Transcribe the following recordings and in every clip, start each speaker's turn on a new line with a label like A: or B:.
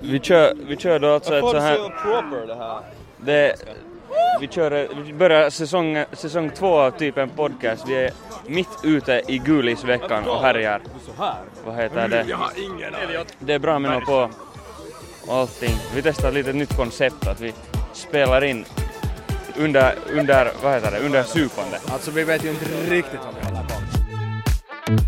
A: Vi kör, vi kör då alltså ett så här...
B: proper det här.
A: Det, vi, kör, vi börjar säsong, säsong två av typen podcast. Vi är mitt ute i gulisveckan och härjar.
B: Så här?
A: Vad heter det?
B: har ingen aning.
A: Det är bra med något på allting. Vi testar lite nytt koncept att vi spelar in under, under vad heter det, under supande.
B: Alltså vi vet ju inte riktigt vad vi håller på med.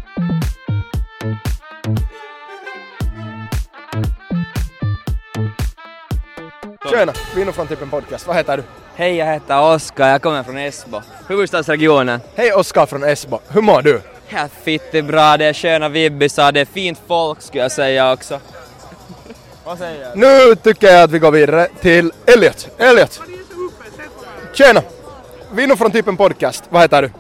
C: Tjena! Vino från Tippen Podcast, vad heter du?
D: Hej, jag heter Oskar, jag kommer från Esbo, huvudstadsregionen.
C: Hej Oskar från Esbo, hur mår du?
D: Här fitte bra, det är sköna vibbisar, det är fint folk skulle jag säga också.
C: Nu tycker jag att vi går vidare till Elliot. Elliot! Tjena! Vino från Tippen Podcast, vad heter du?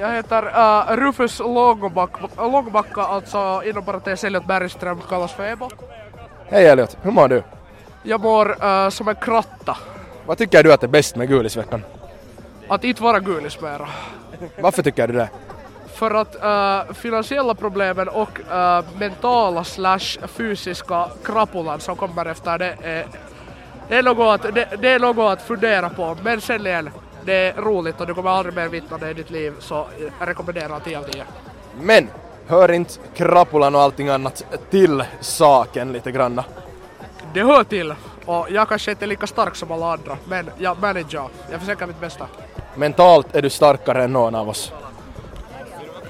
E: Jag heter äh, Rufus Långback, Långbacka, alltså inom parentes Elliot Bergström, kallas för Ebo.
C: Hej Elliot, hur mår du?
E: Jag mår äh, som en kratta.
C: Vad tycker du att är bäst med Gulisveckan?
E: Att inte vara gulis mera.
C: Varför tycker du det?
E: För att äh, finansiella problemen och äh, mentala slash fysiska krapulan som kommer efter det är, det är, något att, det, det är något att fundera på. Men sen igen, det är roligt och du kommer aldrig mer vittna det i ditt liv så jag rekommenderar 10 av 10.
C: Men, hör inte krapulan och allting annat till saken lite granna.
E: Det hör till. Och jag kanske inte är lika stark som alla andra, men jag manager. Jag försöker mitt bästa.
C: Mentalt är du starkare än någon av oss.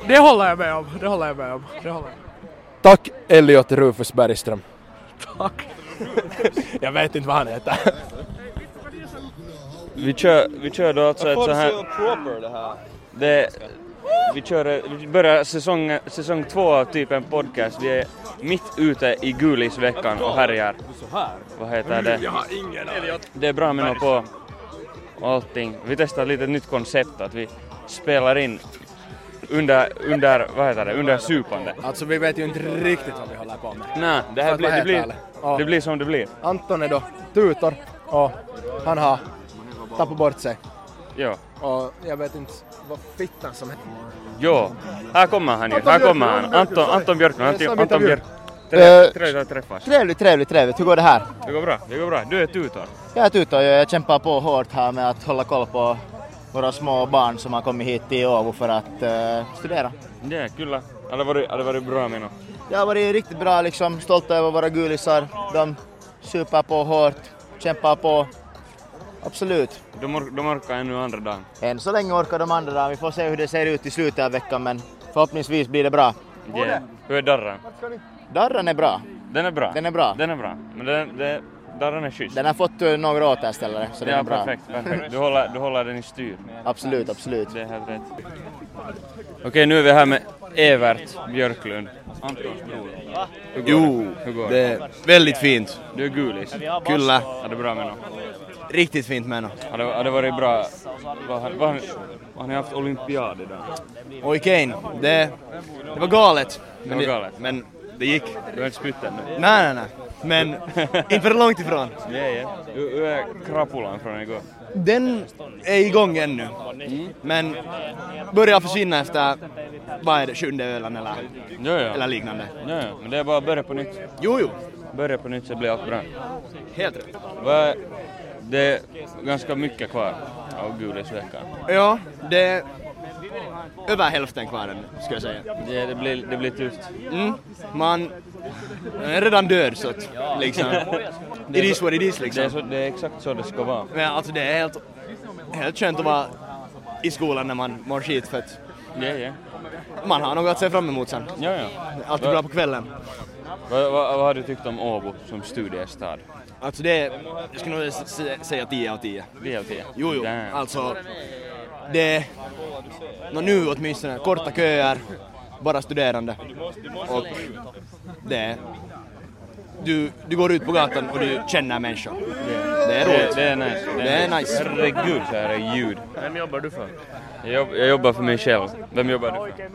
E: Det håller jag med om. Det håller jag med om. Det håller jag. med
C: Tack Elliot Rufus Bergström.
E: om. Tack.
C: Jag vet inte vad han heter.
A: Vi kör, vi kör då alltså ett så här...
B: proper det här.
A: Det, vi, kör, vi börjar säsong, säsong två av typen podcast. Vi är mitt ute i gulisveckan och härjar.
B: Så här?
A: Vad heter det?
B: har ingen aning.
A: Det är bra med något på allting. Vi testar lite nytt koncept att vi spelar in under, under vad heter det, under supande.
C: Alltså vi vet ju inte riktigt vad vi håller på med.
A: Nej, det här blir, det blir,
C: Ja.
A: det blir som det blir.
C: Anton är då tutor och han har tappat bort sig.
A: Jo.
C: Och jag vet inte vad fittan som heter.
A: Jo. Här kommer han ju. Här kommer han. Anton, Anton Björkman. Anton, Anton Björk.
F: Eh.
A: Trevligt att träffas.
F: Trevligt, trevligt, trevligt. Hur går det här?
A: Det går bra. Det går bra. Du är tutor.
F: Jag är ute och jag kämpar på hårt här med att hålla koll på våra små barn som har kommit hit till Åbo för att eh, studera.
A: Ja, kyllä. Har det varit, har det varit bra meno?
F: Det har varit riktigt bra liksom, stolta över våra gulisar. De super på hårt, kämpar på. Absolut.
A: De, or- de orkar ännu andra dagen.
F: Än så länge orkar de andra, vi får se hur det ser ut i slutet av veckan men förhoppningsvis blir det bra.
A: Yeah. Hur är darran?
F: Darran är bra.
A: Den är bra.
F: Den är bra.
A: Den är bra. Men den, den, darran är schysst.
F: Den har fått eh, några återställare så den
A: ja,
F: är bra.
A: perfekt. perfekt. Du, håller, du håller den i styr.
F: Absolut, absolut.
A: Det är helt rätt. Okej, nu är vi här med Evert Björklund. Antons bror. Hur går
G: Jo,
A: det? Hur går
G: det
A: det?
G: är väldigt fint.
A: Du är gulis.
G: Kyllä,
A: Har det bra med
G: riktigt fint meno.
A: Har det, har det varit bra? Vad har- vad har- Har ni haft olympiad idag?
G: Oj Kane, det, det var galet.
A: Det var galet.
G: Men det gick.
A: Du har inte spytt ännu?
G: Nej, nej, nej. Men inte för långt ifrån.
A: Ja, ja. Hur hur är krapulan från igår?
G: Den är igång ännu. Men börjar försvinna efter, vad är det, sjunde ölen eller,
A: Jo,
G: eller
A: ja.
G: liknande.
A: Jo, ja. Men det är bara att börja på nytt.
G: Jo, jo.
A: Börja på nytt så blir allt bra.
G: Helt rätt.
A: Vad- Det är ganska mycket kvar av gulisveckan.
G: Ja, det är över hälften kvar ännu, ska jag säga.
A: Ja, det blir, det blir tufft.
G: Mm. Man man är redan död så att, liksom. It is what it is
A: Det är,
G: liksom.
A: så, det är exakt så det ska vara.
G: Men alltså det är helt, helt skönt att vara i skolan när man mår skit för att
A: Ja, ja.
G: man har något att se fram emot sen.
A: ja, ja.
G: Alltid bra på kvällen.
A: Vad, vad, vad har du tyckt om Åbo som studiestad?
G: Alltså det är, jag skulle nog s- s- säga 10 av 10.
A: Det är det.
G: Jo, jo,
A: Damn.
G: alltså det är, nå nu åtminstone, korta köer, bara studerande. Och det är, du, du går ut på gatan och du känner människor. Det
A: Det,
G: är roligt.
A: det är nice.
G: Det är nice.
A: Herregud så här är ljud. Vem jobbar du för? Jag, jobb, jag jobbar för mig själv. Vem jobbar du för?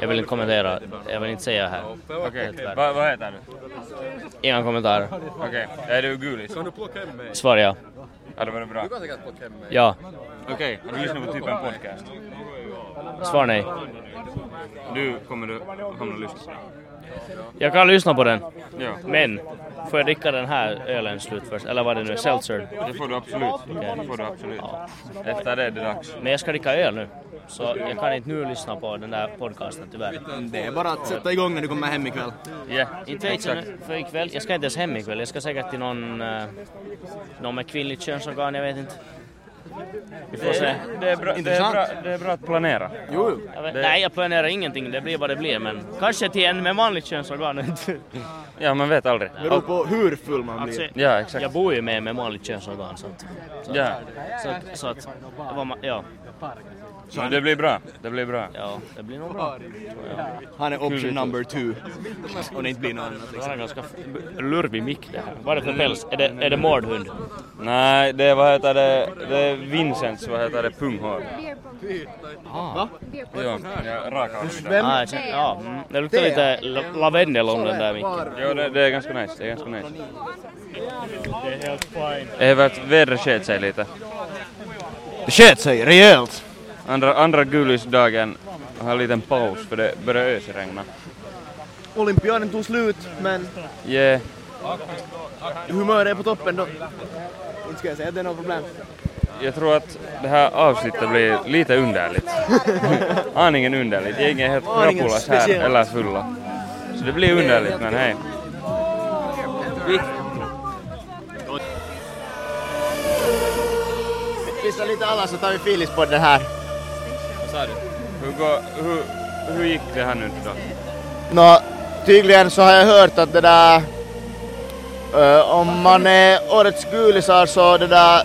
H: Jag vill inte kommentera. Jag vill inte säga här.
A: Okej, Va, vad heter du?
H: Inga kommentarer.
A: Okej, är du gulis?
H: Svar ja.
A: Ja, det var bra. Okej,
H: Ja.
A: har du lyssnat på typ en podcast?
H: Svar nej.
A: Du kommer du hamna och lyssna.
H: Jag kan lyssna på den.
A: Ja.
H: Men, får jag dricka den här ölen slut först? Eller vad det nu är, seltzer?
A: Det får du absolut. Det får du absolut. Efter det är det dags.
H: Men jag ska dricka öl nu. Så jag kan inte nu lyssna på den där podcasten tyvärr.
G: Det är bara att sätta igång när du kommer hem ikväll.
A: Yeah,
H: Inte vet jag nu, för ikväll, jag ska inte ens hem ikväll. Jag ska säkert till någon, eh, någon med kvinnligt könsorgan, jag vet inte. Vi får se.
A: Det är, bra, det, är bra, det är bra att planera.
G: Jo,
H: Jag vet, nej, jag planerar ingenting. Det blir vad det blir. Men kanske till en med vanligt könsorgan.
A: Ja, man vet aldrig.
G: beror på hur full man
H: alltså,
G: blir.
A: Ja, exakt.
H: Jag bor ju med en med vanligt könsorgan. Så att, så att,
A: Ja.
H: så att, så att vad man, ja,
A: Men det blir bra. Det blir bra.
H: ja, det blir nog bra.
G: Han är option number two. Och det inte blir något annat.
H: Det här är en ganska lurvig mick det här. Vad är det för päls? Är det, är det mårdhund?
A: Nej, det är vad heter det? Det är Vincents, vad heter det, punghår. Ah. Ja, ja raka.
H: Ah, jag känner- ja, mm, det luktar lite la- lavendel om den där micken.
A: Jo, det, det är ganska nice. Det är ganska nice. Evert, vädret sket sig lite.
G: Det sket sig rejält.
A: Andra, andra gulisdagen har en liten paus för det börjar ösregna.
B: Olympiaden tog slut, men
A: Yeah.
B: humöret är på toppen då. Inte ska jag säga att det är något problem.
A: Jag tror att det här avsnittet blir lite underligt. Aningen underligt. Gänget är helt
B: Aningen
A: krapulas här,
B: speciellt.
A: eller fulla. Så det blir underligt, men hej.
F: Pissa lite alla så tar vi filis på den här.
A: Hur, går, hur, hur gick det här nu då?
F: Nå, tydligen så har jag hört att det där... ö, Eh, om man är årets gulisar så det där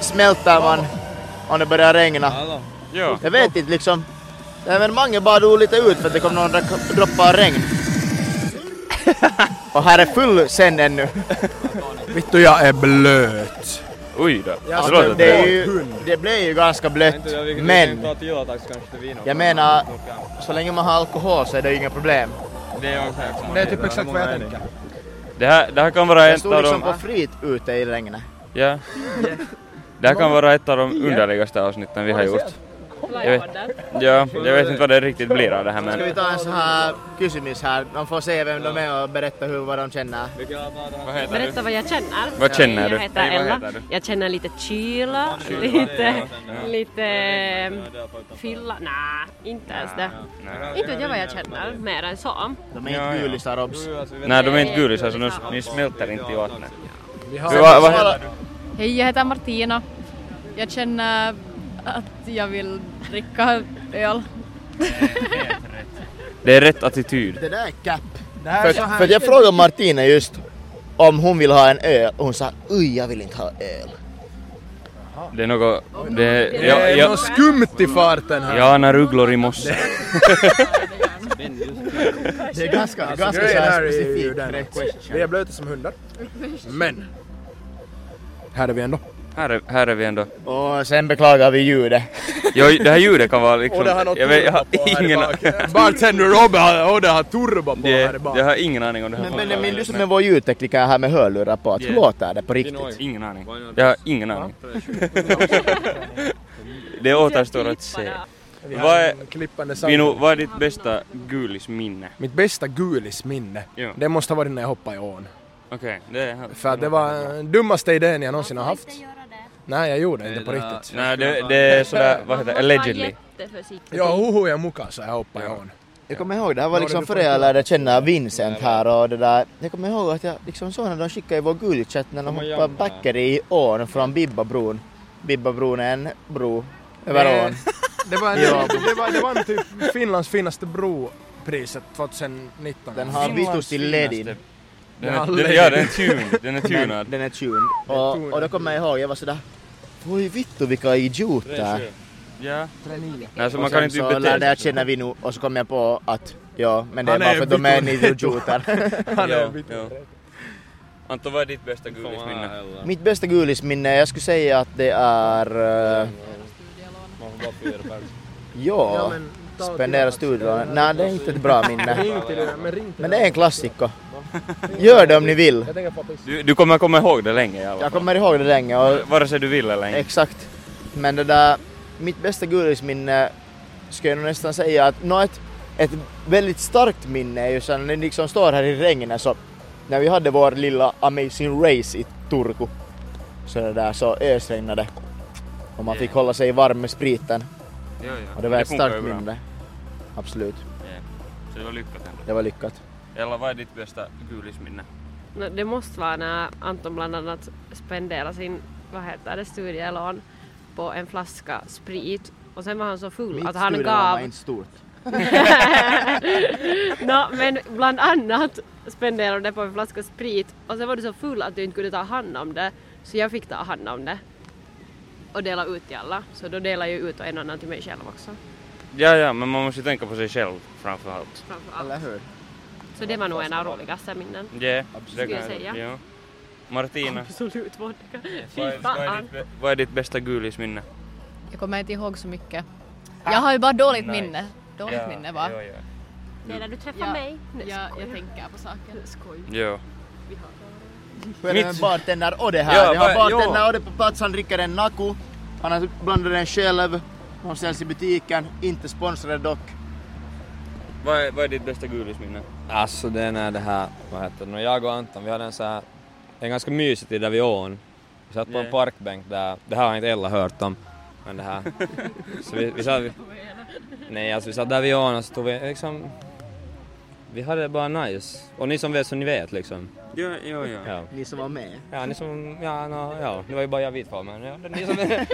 F: smälter man om det börjar regna.
A: Ja,
F: Jag vet inte liksom. Evenemanget bara dog lite ut för att det kom några dro- droppar regn. Och här är full sen ännu.
C: Vittu, jag är blöt.
A: oj då. Det
F: Alltså,
A: låter
F: det, är
A: bra.
F: ju, det blev ju ganska blött. Men jag menar, så länge man har alkohol så är det ju inga problem.
B: Det är typ exakt vad jag tänker.
A: Det här, det här kan vara
F: Jag
A: ett
F: stod
A: av
F: liksom
A: de...
F: på frit ute i regnet.
A: Ja. Det här kan vara ett av de underligaste avsnitten vi har gjort. Jag vet, ja, jag vet inte vad det riktigt blir av det här
F: Ska vi
A: men...
F: ta en sån här kysymis här? De får se vem de är och berätta hur, vad de känner.
A: Vad heter
I: Berätta vad jag känner.
A: Vad känner du?
I: Jag heter
A: Nej, vad
I: Ella.
A: heter du?
I: Jag känner lite kyla, lite, lite fylla. Nej, inte ens det. Inte vet jag vad jag känner mer än så.
F: De är inte gulisar obs.
A: Nej, de är inte gulisar så de, ni smälter inte i vattnet.
E: Vi
A: Du, vad, vad heter du?
J: Hej, jag heter Martina. Jag känner att jag vill dricka öl.
A: Det är rätt attityd.
F: Det där är cap. För, för att jag frågade Martina just om hon vill ha en öl och hon sa uj jag vill inte ha öl.
A: Det är något... Det är,
I: Det
A: jag,
I: är
A: jag,
I: något
C: skumt i farten här.
A: jag anar ugglor i mossen.
F: Det är ganska, ganska så
C: Alltså, grejen här
F: här
C: är ju
F: specifikt.
C: den
F: direkt question.
C: Vi är blöta som hundar. Men. Här är vi ändå.
A: Här är, här är vi ändå.
F: Och sen beklagar vi ljudet.
A: Jo, det här ljudet kan vara liksom...
C: Och det har något
A: jag, vet, jag har
C: turbo på här i
A: ingen...
C: bak. Bartender Robbe har, och det har turbo på här i
A: Det,
C: bak.
A: jag har ingen aning om det här
F: Men
A: funkar
F: Benjamin,
A: eller
F: du som är
A: inte.
F: vår ljudtekniker här med hörlurar på, att hur låter det på riktigt?
A: Ingen aning. Jag har ingen aning. det återstår att se. Vad är,
C: Klippande sound.
A: Minu, vad är ditt bästa gulisminne?
C: Mitt bästa gulisminne,
A: Ja.
C: det måste ha varit när jag hoppade i ån.
A: Okej, det är...
C: För att det var den dummaste idén jag någonsin har haft. Nej, jag gjorde inte på riktigt.
A: Nej, det, det är sådär, vad heter det, allegedly.
C: Ja, hoho, jag muckade så jag hoppade i ån.
F: Jag kommer ihåg, det här var liksom före jag lärde känna Vincent här och det där. Jag kommer ihåg att jag liksom såg när de skickade i vår guldchatt när de hoppade backer i ån från Bibbabron. Bibbabron är en bro över ån.
C: Det var, en,
F: Ja.
C: det, var, det var en typ Finlands finaste bropriset 2019.
F: Den har bytts till Ledin.
A: Den är, den, ja, den är tuned. Den är tunad.
F: Den är tuned. Och, och då kommer jag ihåg, jag var sådär Oj vittu vilka idioter.
A: Ja. Nej, så man kan
F: Och sen
A: inte
F: så lärde
A: bete
F: jag
A: sig.
F: känna Vinu och så kom jag på att ja, men det är
C: Han
F: bara
C: är
F: för att de är
C: vittu.
F: ni idioter.
A: Han är ja. Anton, vad är ditt bästa gulisminne?
F: Mitt bästa gulisminne, jag skulle säga att det är... eh, ja, spendera studielån. Nej, det är inte ett bra minne. Men det är en klassiker. Gör det om ni vill.
A: Du, du kommer komma ihåg det länge i alla
F: Jag
A: fall.
F: kommer ihåg det länge och
A: Vare sig du vill eller inte.
F: exakt. Men det där, mitt bästa gulisminne skulle jag nog nästan säga att något ett väldigt starkt minne är ju sen när ni liksom står här i regnet så när vi hade vår lilla Amazing Race i Turku så det där så ösregnade och man fick hålla sig varm med spriten.
A: Ja, ja.
F: Och det var
A: Det
F: ett
A: funkar
F: starkt
A: ju bra.
F: minne. Absolut.
A: Så det var lyckat ändå.
F: Det var lyckat.
A: Ella, vad är ditt bästa gulisminne?
I: No, det måste vara när Anton bland annat spenderar sin, vad heter det, studielån på en flaska sprit och sen var han så full
F: Mitt
I: att han
F: studielån var
I: gav...
F: inte stort.
I: no, men bland annat spenderade det på en flaska sprit och sen var du så full att du inte kunde ta hand om det så jag fick ta hand om det och dela ut till alla. Så då delade jag ut och en annan till mig själv också.
A: Ja, ja, men man måste ju tänka på sig själv framför allt.
I: Framför allt.
F: Eller hur?
I: Så det var nog en av roligaste minnen.
A: Ja, yeah,
I: Skulle jag säga.
A: Ja. Martina,
I: Absolut vodka.
A: vad
I: Fy
A: är, vad, är
I: fan.
A: ditt, bä- vad är ditt bästa gulisminne?
J: Jag kommer inte ihåg så mycket.
F: Ah.
J: Jag har ju bara dåligt
A: Nice.
J: minne. Dåligt
A: Ja,
J: minne bara.
A: Jo, jo.
F: Mm.
I: Menar du träffar
J: Ja,
I: mig? Nej,
J: Jag, jag
I: skojar.
J: tänker på saker.
I: Skoj.
A: jo.
F: Hur är det med
A: Mitt-
F: bartender Odde
A: Ja,
F: här? Vi har
A: va- ja.
F: bartender Odde på plats, han dricker en Naku. Han har blandat den själv. De säljs i butiken, inte sponsrade dock.
A: Vad är, vad är ditt bästa gulisminne?
D: Alltså det är när det här, vad heter det, Nå, jag och Anton vi hade en så här, en ganska mysig tid där vid ån. Vi satt på
A: Ja.
D: en parkbänk där, det här har inte Ella hört om, men det här. Så vi, vi satt, nej alltså vi satt där vid ån och så tog vi liksom, vi hade det bara nice. Och ni som vet så ni vet liksom.
A: Jo, jo, jo.
D: Ja,
F: Ni som var med.
D: ja ni som, ja, nå, ja, det var ju bara jag vit kvar men ja, det är ni som vet.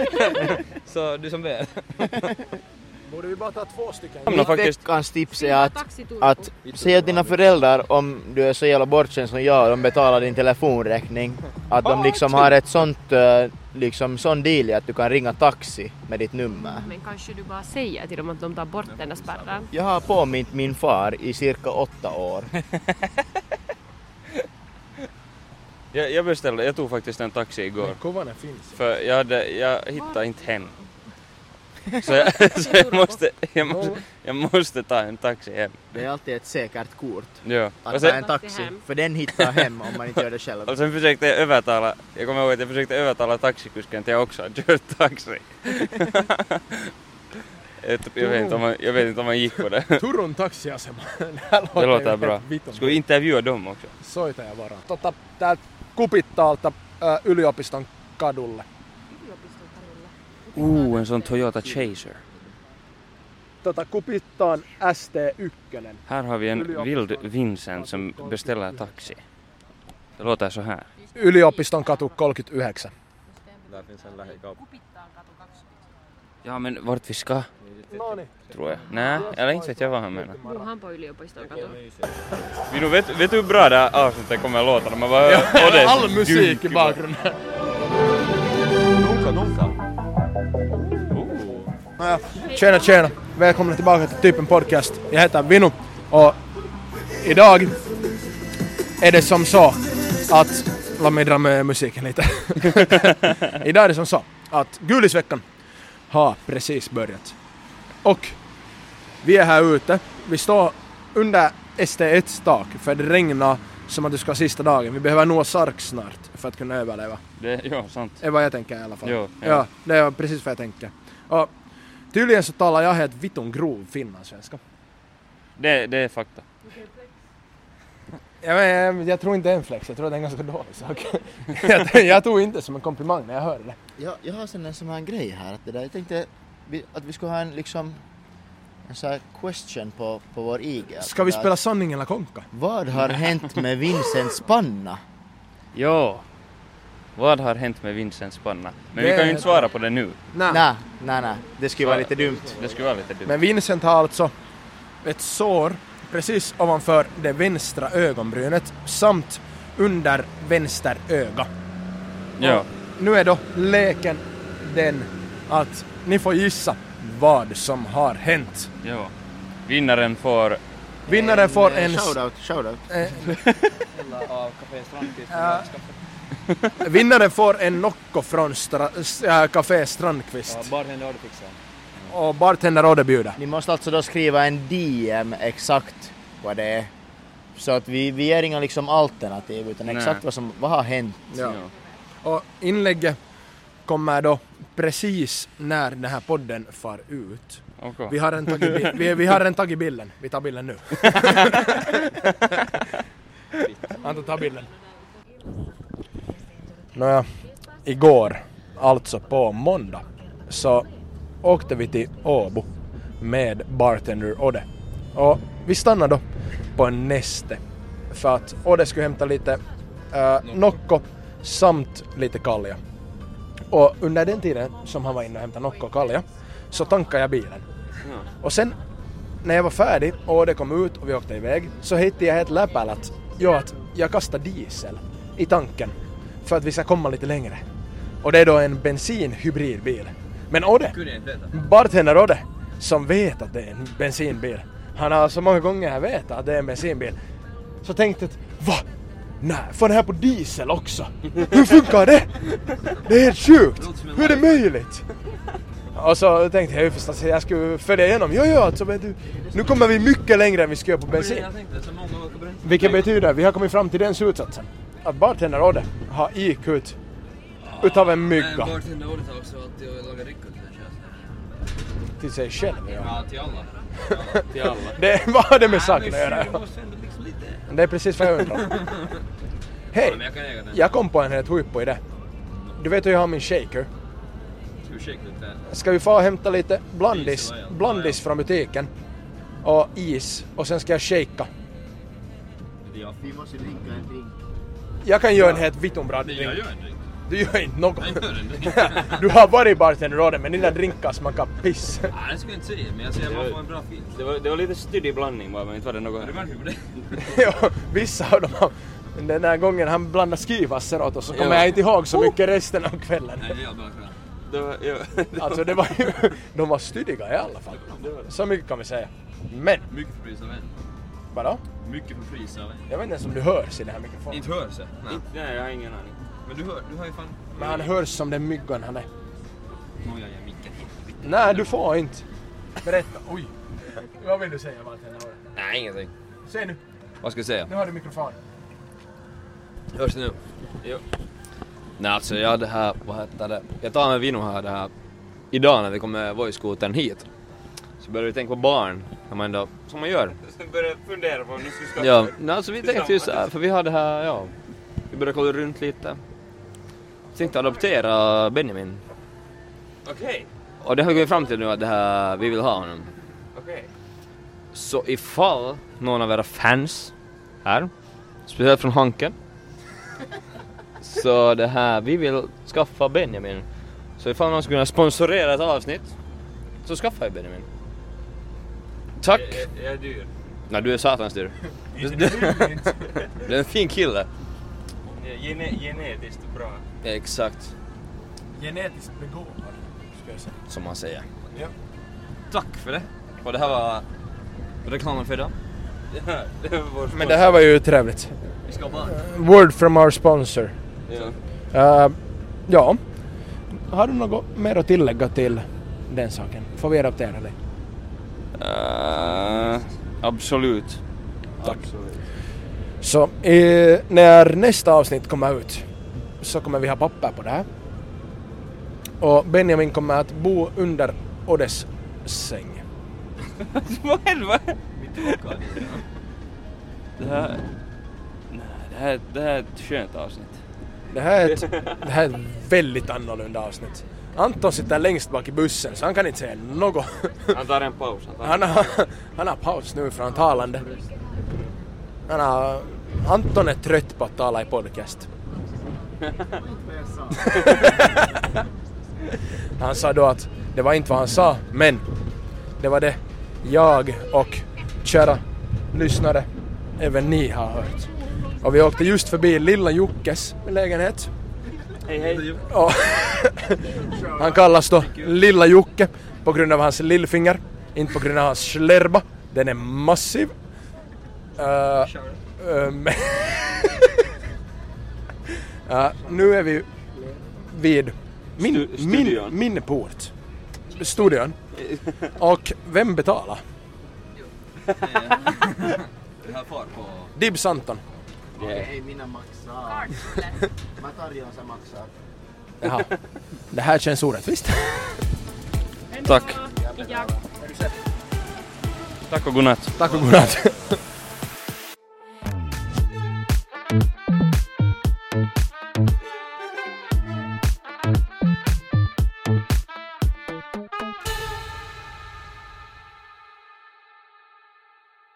D: Så du som vet.
B: Borde vi bara ta två stycken?
A: Hamnar faktiskt...
F: Veckans tips är att,
I: Taxitur.
F: att säga till dina föräldrar om du är så jävla bortskämd som jag och de betalar din telefonräkning. Att de liksom har ett sånt, eh, liksom sån deal att du kan ringa taxi med ditt nummer.
I: Men kanske du bara säger till dem att de tar bort den där spärren.
F: Jag har påmint min far i cirka åtta år.
A: Jag, jag beställde, jag tog faktiskt en taxi igår.
B: Kovanen finns.
A: För jag, hade, jag hittade inte hem. Så, jag, så jag, måste, jag, måste, jag måste ta en taxi hem.
F: Det är alltid ett säkert kort
A: Jo.
F: att
A: Och
F: ta
A: sen,
F: en taxi,
I: Hem.
F: för den hittar hem om man inte gör det själv.
A: och sen försökte jag övertala, jag kommer ihåg att jag försökte övertala taxikusken till jag också hade kört taxi. jag, jag, vet inte om man, jag vet inte om man gick på det.
B: Turun taxiasema. Det här
A: Det
B: ju
A: låter
B: helt
A: bra.
B: vitun.
A: Ska vi intervjua dem också?
B: Soita ja varaa. Tota, täältä Kupittaalta ä, yliopiston kadulle.
A: Uh, en sån Toyota Chaser.
B: Tota, Kupittaan ST1.
A: Här har vi en vild Vincent som beställer taxi. Det låter så här.
B: Yliopiston katu 39.
D: Där finns en lähikauppa.
A: Ja men vart vi ska,
B: No niin.
A: tror jag. Nej, eller inte vet jag vad han menar.
I: Bor han på yliopiston katu?
A: Vino, vet, vet du hur bra det här avsnittet kommer att låta när man bara hör Oddes
G: All musik i
A: gunk-
G: bakgrunden. Oh.
C: Tjena, tjena. Välkomna tillbaka till Typen Podcast. Jag heter Vinu och idag är det som så att... Låt mig dra med musiken lite. idag är det som så att Gulisveckan har precis börjat. Och vi är här ute. Vi står under ST1 tak för det regnar som att det ska vara sista dagen. Vi behöver nå Sark snart för att kunna överleva.
A: Det, ja, sant.
C: Det är vad jag tänker i alla fall.
A: Jo,
C: ja.
A: ja.
C: det var precis vad jag tänkte. Och tydligen så talar jag helt vitun grov finlandssvenska.
A: Det, det är fakta.
C: Jag, men, jag tror inte det är en flex, jag tror att det är en ganska dålig sak. jag, jag tog inte som en komplimang när jag hörde det.
F: Jag, jag har sen en sån här grej här. Att det där, jag tänkte vi, att vi skulle ha en liksom en sån här question på, på vår IG. att
C: Ska vi
F: det där,
C: spela sanning eller konka?
F: Vad har hänt med Vincents panna?
A: Jo. Vad har hänt med Vincents panna? Men
C: Det-
A: vi kan ju inte svara på det nu.
F: Nej, nej, nej. Det skulle vara lite dumt.
A: Det skulle vara lite dumt.
C: Men Vincent har alltså ett sår precis ovanför det vänstra ögonbrynet samt under vänster öga.
A: Ja.
C: Nu är då leken den att ni får gissa vad som har hänt.
A: Jo. Vinnaren får...
C: Vinnaren får en...
F: Eh, Shoutout, shoutout.
C: Vinnaren får en Nocco från stra, s- äh, Café Strandqvist.
D: Bartender har du fixat.
C: Och bartender Odde bjuder.
F: Ni måste alltså då skriva en DM exakt vad det är. Så att vi, vi ger inga liksom alternativ utan
A: Nej.
F: exakt vad som vad har hänt.
C: Ja. Och inlägget kommer då precis när den här podden far ut.
A: Okej.
C: Vi har en tagit bi- vi, vi har en tagit bilden. Vi tar bilden nu. Anton, ta bilden. Nåja, igår, alltså på måndag, så åkte vi till Åbo med bartender Odde. Och vi stannade då på en näste för att Odde skulle hämta lite äh, Nocco samt lite kalja. Och under den tiden som han var inne och hämtade Nocco och kalja så tankade jag bilen. Och sen när jag var färdig och det kom ut och vi åkte iväg så hittade jag helt läppäl att, jo, att jag kastade diesel i tanken för att vi ska komma lite längre. Och det är då en bensinhybridbil. Men Odde, bartender Odde, som vet att det är en bensinbil. Han har så många gånger vetat att det är en bensinbil. Så tänkte jag att, va? Nej, får den här på diesel också? Hur funkar det? Det är helt sjukt! Hur är det möjligt? Och så tänkte jag ju förstås att jag skulle följa igenom. Jo, jo, alltså vet du. Nu kommer vi mycket längre än vi ska göra på bensin. Vilket betyder att vi har kommit fram till den slutsatsen. Att bartenderrådet har IQ ut- utav en mygga
K: Bartenderordet har också alltid att laga ryckor till sig själv.
C: till sig själv. Ja.
K: till alla.
C: Till alla. Det, vad har det med
K: Nej, men
C: saken att göra?
K: fyra måste ändå liksom lite-
C: Det är precis vad jag undrar. Hej!
K: Ja, men jag kan äga den.
C: Jag kom på en helt huippo idé. Du vet hur jag har min shaker?
K: Ursäkta lite.
C: Ska vi få och hämta lite blandis,
K: Diesel, ja.
C: blandis från butiken? Och is. Och sen ska jag shakea.
F: Vi måste dricka en drink.
C: Jag kan göra en helt vittumbra
F: Nej,
C: drink.
F: jag
K: gör en drink.
C: Du gör inte något.
K: Jag gör en drink.
C: du har varit bartenderrådet men dina drinkar smakar piss.
K: Nej, det skulle jag inte säga, men jag säger att man får en bra fil.
A: Det var, det var lite stydig blandning bara, men inte var det något...
K: Du märker på det.
C: Ja, Vissa av dem har... Den där gången han blandade skivasser åt oss så kommer
A: Ja.
C: jag inte ihåg så mycket resten av kvällen.
K: Nej, det är jag bra för.
A: Det var, ja,
C: Alltså det var ju... De var stydiga i alla fall. Så mycket kan vi säga. Men!
K: Mycket för pris av en.
C: Vadå?
K: Mycket för pris av en.
C: Jag vet inte ens om du hörs i den här mikrofonen.
K: Inte hörs det? Nej.
A: Nej, jag har ingen aning.
K: Men du hör, du hör ju fan...
C: Men han hörs som den myggan han är.
K: Nåja, jag mickar hit.
C: Nej, du får inte. Berätta. Oj. Vad vill du säga bartenderrådet?
K: Nej, ingenting.
C: Säg nu.
K: Vad ska jag säga?
C: Nu har du mikrofonen.
K: Hörs det nu? Jo.
D: Nej alltså jag hade här, vad heter det, jag tar med Vino här det här, idag när vi kom med voice-skotern hit. Så började vi tänka på barn, när man ändå, som man gör.
A: Sen började jag fundera på om ni skulle skaffa
D: Ja, nej, alltså vi tänkte ju så här, för vi hade här, ja, vi började kolla runt lite. Tänkte adoptera Benjamin.
A: Okej,
D: Och det har vi kommit fram till nu att det här, vi vill ha honom.
A: okej.
D: Så ifall någon av era fans här, speciellt från Hanken, så det här, vi vill skaffa Benjamin. Så ifall någon skulle kunna sponsorera ett avsnitt, så skaffa jag Benjamin. Tack!
A: Jag, jag är dyr.
D: Nej du är satans dyr.
A: Inte dyr, inte.
D: Du är en fin kille.
A: Gene, genetiskt bra.
D: Exakt,
C: Genetiskt begåvad, ska jag säga.
D: som man säger.
C: Ja.
D: Tack för det. Och det här var reklamen för idag.
C: Men det här var ju trevligt.
D: Vi ska ha barn.
C: Word from our sponsor. Ja. Eh, ja. Har du något mer att tillägga till den saken? Får vi adoptera dig?
A: Uh, absolut.
C: Tack. Så eh, när nästa avsnitt kommer ut så kommer vi ha papper på det här. Och Benjamin kommer att bo under Oddes säng.
A: Vad helvete? Det här... Nej, det här, det här är ett skönt avsnitt.
C: Det här är ett, det här är ett väldigt annorlunda avsnitt. Anton sitter längst bak i bussen så han kan inte säga något.
A: Han tar en paus. Han tar
C: Han har, han har paus nu från talande. Han har, Anton är trött på att tala i podcast. Han sa då att det var inte vad han sa, men det var det jag och kära lyssnare, även ni har hört. Och vi åkte just förbi lilla Jockes lägenhet.
A: Hej hej.
C: Och han kallas då Lilla Jocke på grund av hans lillfinger, inte på grund av hans slerba. Den är massiv. Eh, eh, men- Eh, nu är vi vid min,
A: Stu-
C: min,
A: studion.
C: min port. Studion. Och vem betalar?
K: Det här far på...
C: Dibs Anton.
F: Okej, mina maxar. Mä tarjoan, sä maksaa.
C: Jaha. Det här känns orättvist.
I: Tack. Tack och godnatt.
C: Tack och godnatt.